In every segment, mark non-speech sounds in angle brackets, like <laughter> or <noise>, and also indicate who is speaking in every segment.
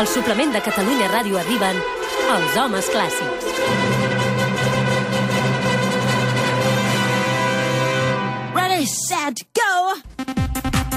Speaker 1: Al suplement de Catalunya Ràdio arriben els homes clàssics.
Speaker 2: Ready, set, go!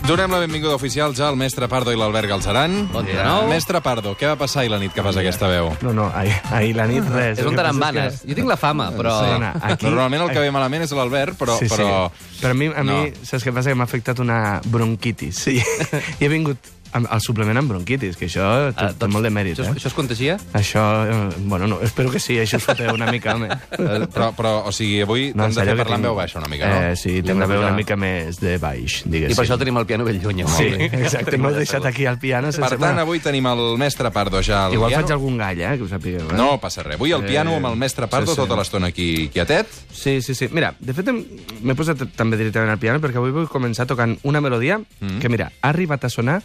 Speaker 3: Donem la benvinguda oficial ja al mestre Pardo i l'Albert Galzeran.
Speaker 4: Bon dia de nou.
Speaker 3: Mestre Pardo, què va passar ahir la nit que fas aquesta veu?
Speaker 5: No, no, ahir, ahir la nit res.
Speaker 4: És
Speaker 5: El
Speaker 4: un
Speaker 5: que passa
Speaker 4: tarambana.
Speaker 5: és que-
Speaker 4: Jo tinc la fama, però...
Speaker 3: <laughs>
Speaker 5: Perdona, aquí...
Speaker 3: Normalment el que ve malament és l'Albert, però...
Speaker 5: Sí, sí.
Speaker 3: però...
Speaker 5: Però a mi, a mi
Speaker 3: no.
Speaker 5: saps què passa? Que m'ha afectat una bronquitis. Sí. <laughs> I he vingut amb, al suplement amb bronquitis, que això
Speaker 4: Ah,
Speaker 5: té, ah,
Speaker 3: doncs
Speaker 5: té molt de mèrit,
Speaker 4: Això,
Speaker 5: eh?
Speaker 4: es- això es contagia?
Speaker 5: Això, eh, bueno, no, espero que sí, això us foteu una
Speaker 3: <laughs>
Speaker 5: mica, home.
Speaker 3: eh, Però, però, o sigui, avui no, t'hem
Speaker 5: en
Speaker 3: de
Speaker 5: sèrio,
Speaker 3: fer
Speaker 5: que
Speaker 3: parlar en
Speaker 5: tinc-
Speaker 3: veu baixa una mica, no?
Speaker 5: Eh, sí,
Speaker 4: L'hem
Speaker 5: tinc
Speaker 4: de
Speaker 5: la veu
Speaker 4: posar-
Speaker 5: una mica més de baix,
Speaker 4: I
Speaker 5: diguéssim.
Speaker 4: per això tenim el piano ben lluny.
Speaker 5: Sí,
Speaker 4: avui.
Speaker 5: <laughs> exacte, m'heu deixat aquí al piano sense...
Speaker 3: Per tant, avui tenim el mestre Pardo ja al
Speaker 5: Igual
Speaker 3: piano.
Speaker 5: faig algun gall, eh, que ho sapigueu. Eh?
Speaker 3: No passa res. Avui al piano amb el mestre Pardo
Speaker 5: sí, sí.
Speaker 3: tota l'estona aquí quietet.
Speaker 5: Sí, sí, sí. Mira, de fet, em- m'he posat també directament al piano perquè avui vull començar tocant una melodia mm. que, mira, ha arribat a sonar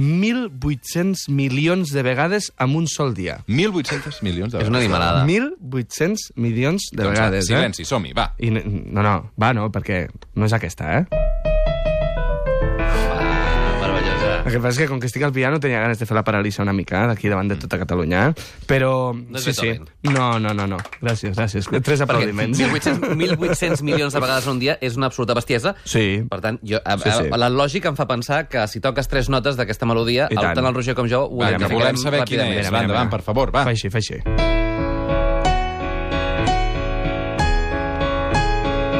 Speaker 5: 1.800 milions de vegades en un sol dia.
Speaker 3: 1.800 milions de
Speaker 4: És una animalada.
Speaker 5: 1.800 milions de
Speaker 3: Doncs,
Speaker 5: vegades,
Speaker 3: va, silenci, som-hi, va.
Speaker 5: eh? I n- no, no, va, no, perquè no és aquesta, eh?
Speaker 4: Meravellosa.
Speaker 5: El que passa és que, com que estic al piano, tenia ganes de fer la paralisa una mica, eh, d'aquí davant
Speaker 3: Mm.
Speaker 5: de tota Catalunya, eh? Però...
Speaker 4: No és
Speaker 5: sí, sí.
Speaker 4: Beethoven.
Speaker 5: No, no, no, no. Gràcies, gràcies. Tres
Speaker 4: Perquè
Speaker 5: aplaudiments.
Speaker 4: 1.800 1.800 milions de vegades en un dia és una absoluta bestiesa.
Speaker 5: Sí.
Speaker 4: Per tant, jo, a,
Speaker 5: Sí, sí.
Speaker 4: a, la lògica em fa pensar que si toques tres notes d'aquesta melodia,
Speaker 5: I tant.
Speaker 4: tant el Roger com jo ho
Speaker 3: Va, que
Speaker 4: identificarem
Speaker 3: volem saber quina
Speaker 4: ràpidament.
Speaker 3: és. Va, endavant, per favor, va.
Speaker 5: Fa així, fa així.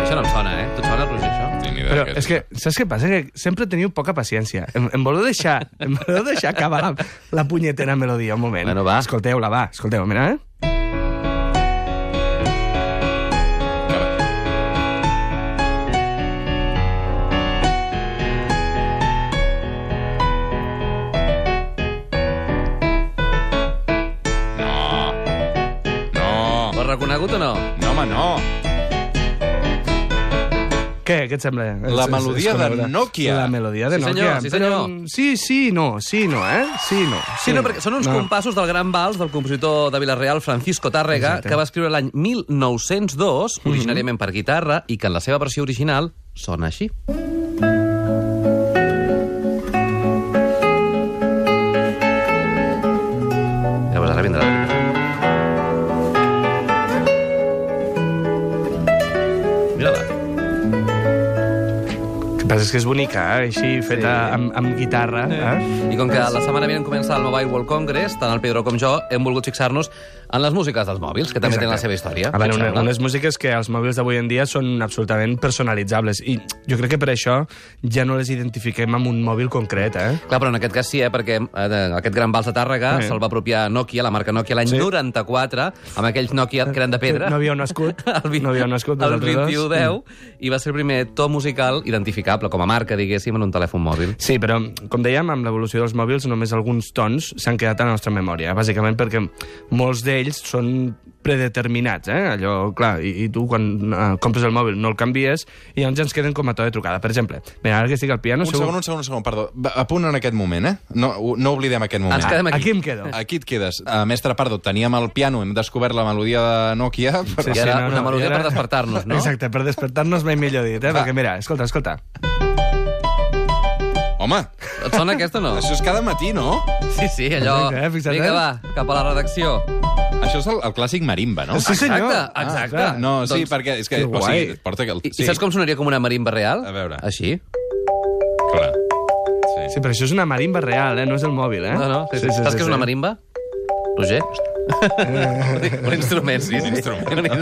Speaker 4: Això no em sona, eh? Tu et sona, Roger, això?
Speaker 3: Ni idea
Speaker 5: Però
Speaker 3: d'aquest.
Speaker 5: és que, saps què passa? Que sempre teniu poca paciència. Em, em voleu deixar, em voleu deixar acabar la, la punyetera melodia un moment.
Speaker 4: Bueno, va.
Speaker 5: Escolteu-la, va. Escolteu, mira, eh?
Speaker 3: No,
Speaker 4: Ho has reconegut o no?
Speaker 3: no, home, no.
Speaker 5: Què, què et sembla?
Speaker 3: La
Speaker 5: És- és-
Speaker 3: melodia
Speaker 5: és
Speaker 3: de
Speaker 5: coneguda.
Speaker 3: Nokia.
Speaker 5: La melodia de
Speaker 4: Sí, senyor,
Speaker 5: Nokia.
Speaker 4: sí,
Speaker 5: Però, mm,
Speaker 4: senyor.
Speaker 5: sí, sí, no, sí, no, eh? Sí, no.
Speaker 4: Sí, no, perquè són uns no. compassos del gran vals del compositor de Vilareal, Francisco Tàrrega,
Speaker 5: Exacte.
Speaker 4: que va escriure l'any 1902, originàriament per guitarra, i que en la seva versió original sona així. Llavors ara vindrà la guitarra. Mira-la.
Speaker 5: El que passa és que és bonica, eh? Així, feta
Speaker 4: Sí.
Speaker 5: amb, amb guitarra. Eh?
Speaker 4: I com que la setmana vinent comença el Mobile World Congress, tant el Pedro com jo hem volgut fixar-nos en les músiques dels mòbils, que també
Speaker 5: Exacte.
Speaker 4: tenen la seva història.
Speaker 5: A veure,
Speaker 4: Què us
Speaker 5: Ah, una,
Speaker 4: sembla?
Speaker 5: unes músiques que als mòbils d'avui en dia són absolutament personalitzables i jo crec que per això ja no les identifiquem amb un mòbil concret, eh?
Speaker 4: Clar, però en aquest cas sí, eh, perquè eh, de- aquest gran vals de Tàrrega
Speaker 5: Sí.
Speaker 4: se'l va apropiar Nokia, la marca Nokia, l'any
Speaker 5: Sí.
Speaker 4: 94, amb aquells Nokia que eren de pedra.
Speaker 5: No havíeu nascut,
Speaker 4: vi-
Speaker 5: no havíeu nascut
Speaker 4: <laughs> El
Speaker 5: vosaltres dos.
Speaker 4: 2110, i va ser el primer to musical identificable, com a marca, diguéssim, en un telèfon mòbil.
Speaker 5: Sí, però, com dèiem, amb l'evolució dels mòbils només alguns tons s'han quedat a la nostra memòria, bàsicament perquè molts d'ells són predeterminats, eh? Allò, clar, i, i tu quan eh, compres el mòbil no el canvies i llavors ja ens queden com a to de trucada. Per exemple, mira, ara que estic al piano...
Speaker 3: Un segon, un segon, un segon, perdó. Va, A punt en aquest moment, eh? No, no oblidem aquest moment.
Speaker 4: Ens quedem
Speaker 5: Aquí.
Speaker 4: aquí.
Speaker 5: em quedo.
Speaker 3: Aquí et quedes. Uh, mestre Pardo, teníem el piano, hem descobert la melodia de Nokia. Però...
Speaker 4: sí. I ara una melodia
Speaker 5: i
Speaker 4: per despertar-nos, no?
Speaker 5: Exacte, per despertar-nos mai millor dit, eh?
Speaker 3: Va.
Speaker 5: Perquè mira, escolta, escolta.
Speaker 3: Home,
Speaker 4: Et sona aquesta o no?
Speaker 3: això és cada matí, no?
Speaker 4: Sí, sí, allò...
Speaker 5: Perfecte, eh? Fixa't,
Speaker 4: Vinga,
Speaker 5: eh?
Speaker 4: va, cap a la redacció.
Speaker 3: Això és el, el clàssic marimba, no?
Speaker 5: Sí, senyor.
Speaker 4: Exacte, exacte.
Speaker 5: clar.
Speaker 3: Ah, No, sí,
Speaker 4: Doncs-
Speaker 3: perquè... És que,
Speaker 5: Que
Speaker 3: o sigui,
Speaker 5: guai.
Speaker 3: porta que el...
Speaker 4: I,
Speaker 3: sí,
Speaker 4: I saps com sonaria com una marimba real?
Speaker 3: A veure.
Speaker 4: Així.
Speaker 5: Eh?
Speaker 3: Clar. Sí.
Speaker 5: Sí, però això és una marimba real, eh? No és el mòbil, eh?
Speaker 4: No, no, sí, sí, sí, saps sí, què és una marimba?
Speaker 5: <laughs>
Speaker 4: Roger? un instrument, sí, sí.
Speaker 3: Un
Speaker 4: instrument.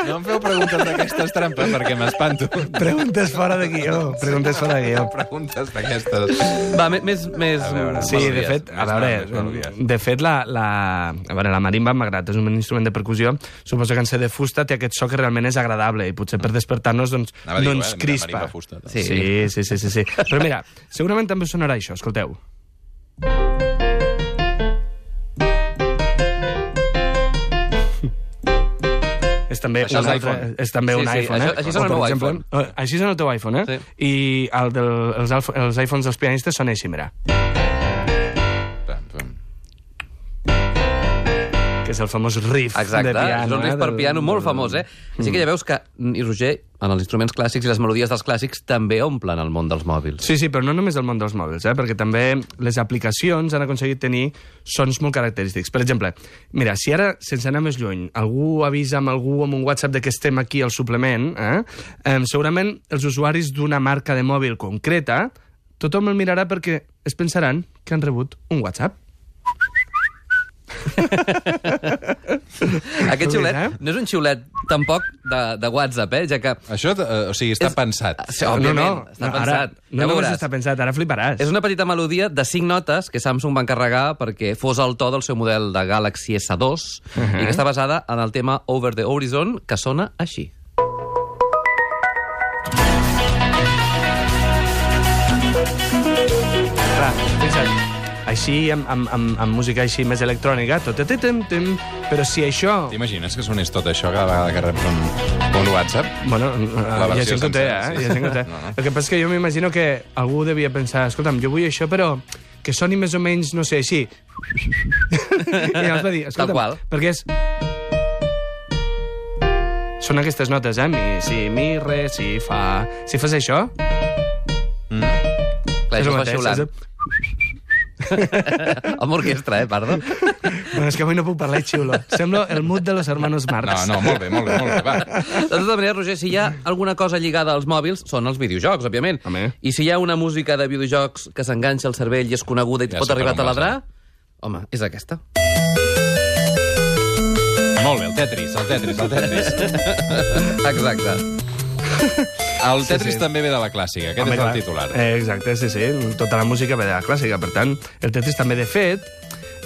Speaker 3: No em feu preguntes d'aquestes trampes perquè m'espanto. <laughs>
Speaker 5: Preguntes fora de guió. Preguntes fora de guió.
Speaker 3: Preguntes d'aquestes...
Speaker 4: Va, me- més... més
Speaker 3: veure.
Speaker 5: Sí, de
Speaker 4: melodies.
Speaker 5: fet, a
Speaker 3: Més melodies,
Speaker 5: veure, eh,
Speaker 3: melodies.
Speaker 5: de fet, la, la, a veure, la marimba m'agrada, és un instrument de percussió, suposo que en ser de fusta té aquest so que realment és agradable i potser per despertar-nos, doncs,
Speaker 3: Anava a dir-ho, eh?
Speaker 5: doncs
Speaker 3: Mira,
Speaker 5: crispa.
Speaker 3: marimba fusta, doncs.
Speaker 5: Sí. sí, sí, sí, sí, sí. Però mira, segurament també us sonarà això, escolteu. <laughs> És també
Speaker 4: Això
Speaker 5: un,
Speaker 4: és
Speaker 5: altre,
Speaker 4: iPhone.
Speaker 5: és també
Speaker 4: Sí,
Speaker 5: un
Speaker 4: sí,
Speaker 5: iPhone,
Speaker 4: això-
Speaker 5: eh?
Speaker 4: així sona
Speaker 5: O,
Speaker 4: el
Speaker 5: per
Speaker 4: meu
Speaker 5: exemple,
Speaker 4: iPhone.
Speaker 5: eh, Així sona el teu iPhone, eh?
Speaker 4: Sí.
Speaker 5: I el del, els, alf- els iPhones dels pianistes són així, mira.
Speaker 3: Pam, pam.
Speaker 5: Que que és el famós riff
Speaker 4: Exacte,
Speaker 5: de Mm. piano.
Speaker 4: és un riff
Speaker 5: eh,
Speaker 4: per
Speaker 5: del-
Speaker 4: piano molt
Speaker 5: del-
Speaker 4: famós, eh? Així que ja veus que, mm, i Roger, en els instruments clàssics i les melodies dels clàssics també omplen el món dels mòbils.
Speaker 5: Sí, sí, però no només el món dels mòbils, eh? perquè també les aplicacions han aconseguit tenir sons molt característics. Per exemple, mira, si ara, sense anar més lluny, algú avisa amb algú amb un WhatsApp de que estem aquí al suplement, eh? Eh, segurament els usuaris d'una marca de mòbil concreta, tothom el mirarà perquè es pensaran que han rebut un WhatsApp.
Speaker 4: Aquest
Speaker 5: Mira.
Speaker 4: xiulet no és un xiulet tampoc de, de WhatsApp, eh? Ja que...
Speaker 3: Això, eh, o sigui, està
Speaker 4: És-
Speaker 3: pensat.
Speaker 4: Sí, òbviament,
Speaker 5: no, no,
Speaker 4: està
Speaker 5: no,
Speaker 4: pensat.
Speaker 5: Ara, no
Speaker 4: ja
Speaker 5: només
Speaker 4: veuràs.
Speaker 5: està pensat, ara fliparàs.
Speaker 4: És una petita melodia de cinc notes que Samsung va encarregar perquè fos el to del seu model de Galaxy S2 i que està basada en el tema Over the Horizon, que sona així.
Speaker 5: Clar, fixa't, així, amb, amb, amb, amb música així més electrònica, tot té tem, tem, però si això...
Speaker 3: T'imagines que sonés tot això cada vegada que reps un, un WhatsApp?
Speaker 5: Bueno, eh, hi ha
Speaker 3: versió
Speaker 5: gent que ho té,
Speaker 3: sencera,
Speaker 5: eh?
Speaker 3: sí.
Speaker 5: Hi ha gent que ho té.
Speaker 3: No, no.
Speaker 5: El que passa és que jo m'imagino que algú devia pensar, escolta'm, jo vull això, però que soni més o menys, no sé, així. <laughs> I llavors va dir,
Speaker 4: qual.
Speaker 5: escolta'm, perquè és... Són aquestes notes, eh? Mi, si, mi, re, si, fa... Si fas això...
Speaker 4: Clar,
Speaker 5: és
Speaker 4: això
Speaker 5: el
Speaker 4: es va
Speaker 5: mateix,
Speaker 4: xiulant.
Speaker 5: saps?
Speaker 4: Amb orquestra, eh, perdó.
Speaker 5: Bueno, és que avui no puc parlar i xiulo. Semblo el mut de los hermanos
Speaker 3: No,
Speaker 5: Marx.
Speaker 3: no, molt bé, molt bé, molt bé, va.
Speaker 4: De tota manera, Roger, si hi ha alguna cosa lligada als mòbils, són els videojocs, òbviament.
Speaker 5: Home.
Speaker 4: I si hi ha una música de videojocs que s'enganxa al cervell i és coneguda i
Speaker 3: Ja
Speaker 4: ja pot
Speaker 3: sé
Speaker 4: arribar a
Speaker 3: per on vas,
Speaker 4: taladrar, home, és aquesta.
Speaker 3: Molt bé, el Tetris, el Tetris, el Tetris.
Speaker 4: Exacte.
Speaker 3: El Tetris també ve de la clàssica, aquest
Speaker 5: Home,
Speaker 3: és
Speaker 5: clar.
Speaker 3: el titular.
Speaker 5: Eh, exacte, sí, sí. Tota la música ve de la clàssica. Per tant, el Tetris també, de fet,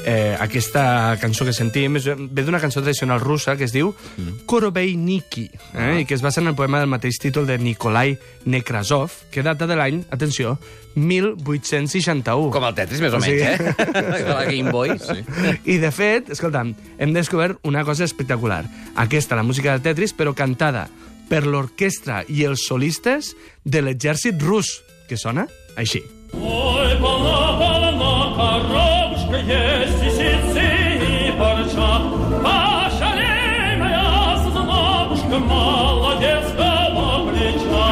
Speaker 5: eh, aquesta cançó que sentim és, ve d'una cançó tradicional russa que es diu
Speaker 3: Mm.
Speaker 5: Korobeiniki,
Speaker 3: Ah.
Speaker 5: eh, i que es basa en el poema del mateix títol de Nikolai Nekrasov, que data de l'any, atenció, 1861.
Speaker 4: Com el Tetris, més o
Speaker 5: O sigui-
Speaker 4: menys, eh? De la Game Boy. Sí.
Speaker 5: I, de fet, escolta'm, hem descobert una cosa espectacular. Aquesta, la música del Tetris, però cantada per l'orquestra i els solistes de l'exèrcit rus, que sona així.
Speaker 6: Ой, полно, полно, коробушка есть и сицы, и парча. Пошалейная сынобушка, молодец, кого плеча.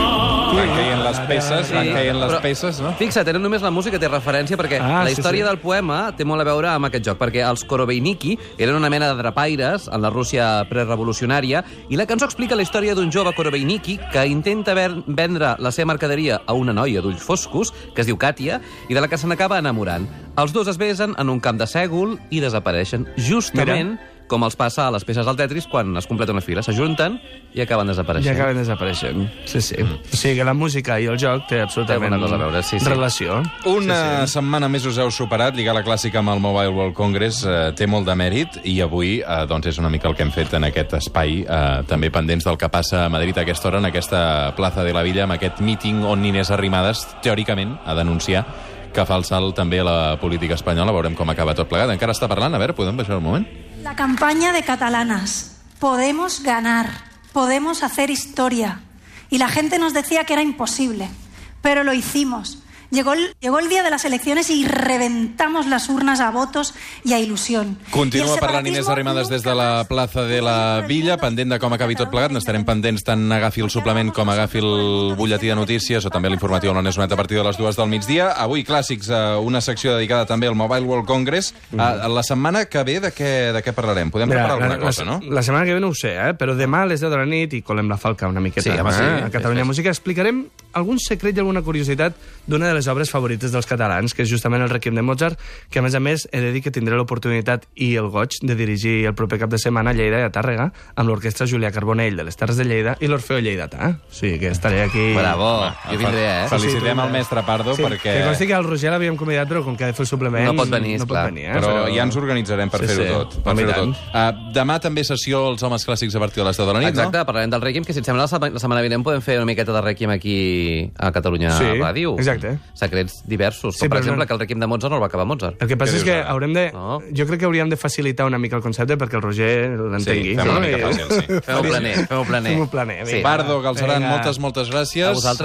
Speaker 3: Van caient les peces, van caient les
Speaker 4: Però,
Speaker 3: peces, no?
Speaker 4: Fixa't, era només la música té referència perquè ah,
Speaker 5: Ah,
Speaker 4: la
Speaker 5: sí,
Speaker 4: història sí,
Speaker 5: sí.
Speaker 4: del poema té molt a veure amb aquest joc, perquè els Korobeiniki eren una mena de drapaires en la Rússia prerevolucionària i la cançó explica la història d'un jove Korobeiniki que intenta ver- vendre la seva mercaderia a una noia d'ulls foscos, que es diu Katia, i de la que se n'acaba enamorant. Els dos es besen en un camp de sègol i desapareixen, justament Mira. com els passa a les peces del Tetris quan es completa una fila. S'ajunten i acaben
Speaker 5: I
Speaker 4: desapareixent.
Speaker 5: acaben desapareixent. Sí, sí. Mm. O sigui que la música i el joc té absolutament
Speaker 4: Té alguna cosa a veure, sí, sí.
Speaker 5: relació.
Speaker 3: Una setmana més us heu superat, lligar la clàssica amb el Mobile World Congress eh, té molt de mèrit i avui eh, doncs és una mica el que hem fet en aquest espai, eh, també pendents del que passa a Madrid a aquesta hora, en aquesta plaça de la Villa, amb aquest míting on Inés Arrimadas, teòricament, ha d'anunciar que fa el salt també a la política espanyola. Veurem com acaba tot plegat. Encara està parlant? A veure, podem baixar un moment?
Speaker 7: La campaña de catalanas. Podemos ganar, podemos hacer historia. Y la gente nos decía que era imposible, pero lo hicimos. Llegó el, llegó el día de las elecciones y reventamos las urnas a votos y a ilusión.
Speaker 3: Continua parlant Inés Arrimadas des de la plaça de la Villa, pendent de com acabi tot plegat. N'estarem pendents tant agafi el suplement com agafi el butlletí de notícies o també l'informatiu on és donat a partir de les dues del migdia. Avui, clàssics, eh, una secció dedicada també al Mobile World Congress. Eh, La setmana que ve, de què, de què parlarem? Podem preparar alguna cosa, no?
Speaker 5: La setmana que ve no ho sé, eh? però demà a les 10 de la nit i colem la falca una miqueta.
Speaker 4: Sí, home, sí.
Speaker 5: eh? A Catalunya Música explicarem algun secret i alguna curiositat d'una de les obres favorites dels catalans, que és justament el Requiem de Mozart, que a més a més he de dir que tindré l'oportunitat i el goig de dirigir el proper cap de setmana a Lleida i a Tàrrega amb l'orquestra Julià Carbonell de les Terres de Lleida i l'Orfeo Lleidatà. Eh? O sigui que estaré aquí...
Speaker 4: Bravo, jo vindré, eh?
Speaker 3: Felicitem al mestre Pardo
Speaker 5: Sí, perquè...
Speaker 3: perquè...
Speaker 5: que consti que el Roger l'havíem convidat, però com que ha de fer el suplement...
Speaker 4: No pot venir,
Speaker 5: no pot
Speaker 4: esclar.
Speaker 5: venir eh?
Speaker 3: Però ja ens organitzarem per
Speaker 5: Sí,
Speaker 3: fer-ho
Speaker 5: sí.
Speaker 3: tot. Per
Speaker 5: Home, i
Speaker 3: fer
Speaker 5: tant.
Speaker 3: tot. Uh, demà també sessió als homes clàssics a partir de les 10 de la nit,
Speaker 4: Exacte, no? parlarem del Requiem, que si et sembla la setmana, la setmana vinent podem fer una miqueta de Requiem aquí a Catalunya
Speaker 5: Sí,
Speaker 4: Ràdio.
Speaker 5: exacte.
Speaker 4: Secrets diversos,
Speaker 5: Sí,
Speaker 4: com per
Speaker 5: però no-
Speaker 4: exemple que el Requiem de Mozart no el va acabar Mozart.
Speaker 5: El que passa
Speaker 3: Què
Speaker 5: és
Speaker 3: dius
Speaker 5: que
Speaker 3: ara?
Speaker 5: haurem de...
Speaker 4: No.
Speaker 5: Jo crec que hauríem de facilitar una mica el concepte perquè el Roger
Speaker 3: no? Sí,
Speaker 5: l'entengui.
Speaker 3: fem una
Speaker 5: no?
Speaker 3: mica
Speaker 5: I-
Speaker 3: fàcil, sí.
Speaker 4: Fem-ho planer, fem-ho planer.
Speaker 5: Fem-ho planer,
Speaker 4: Sí.
Speaker 5: vinga.
Speaker 3: Pardo, Galzeran,
Speaker 5: Vinga.
Speaker 3: moltes, moltes gràcies.
Speaker 4: A vosaltres.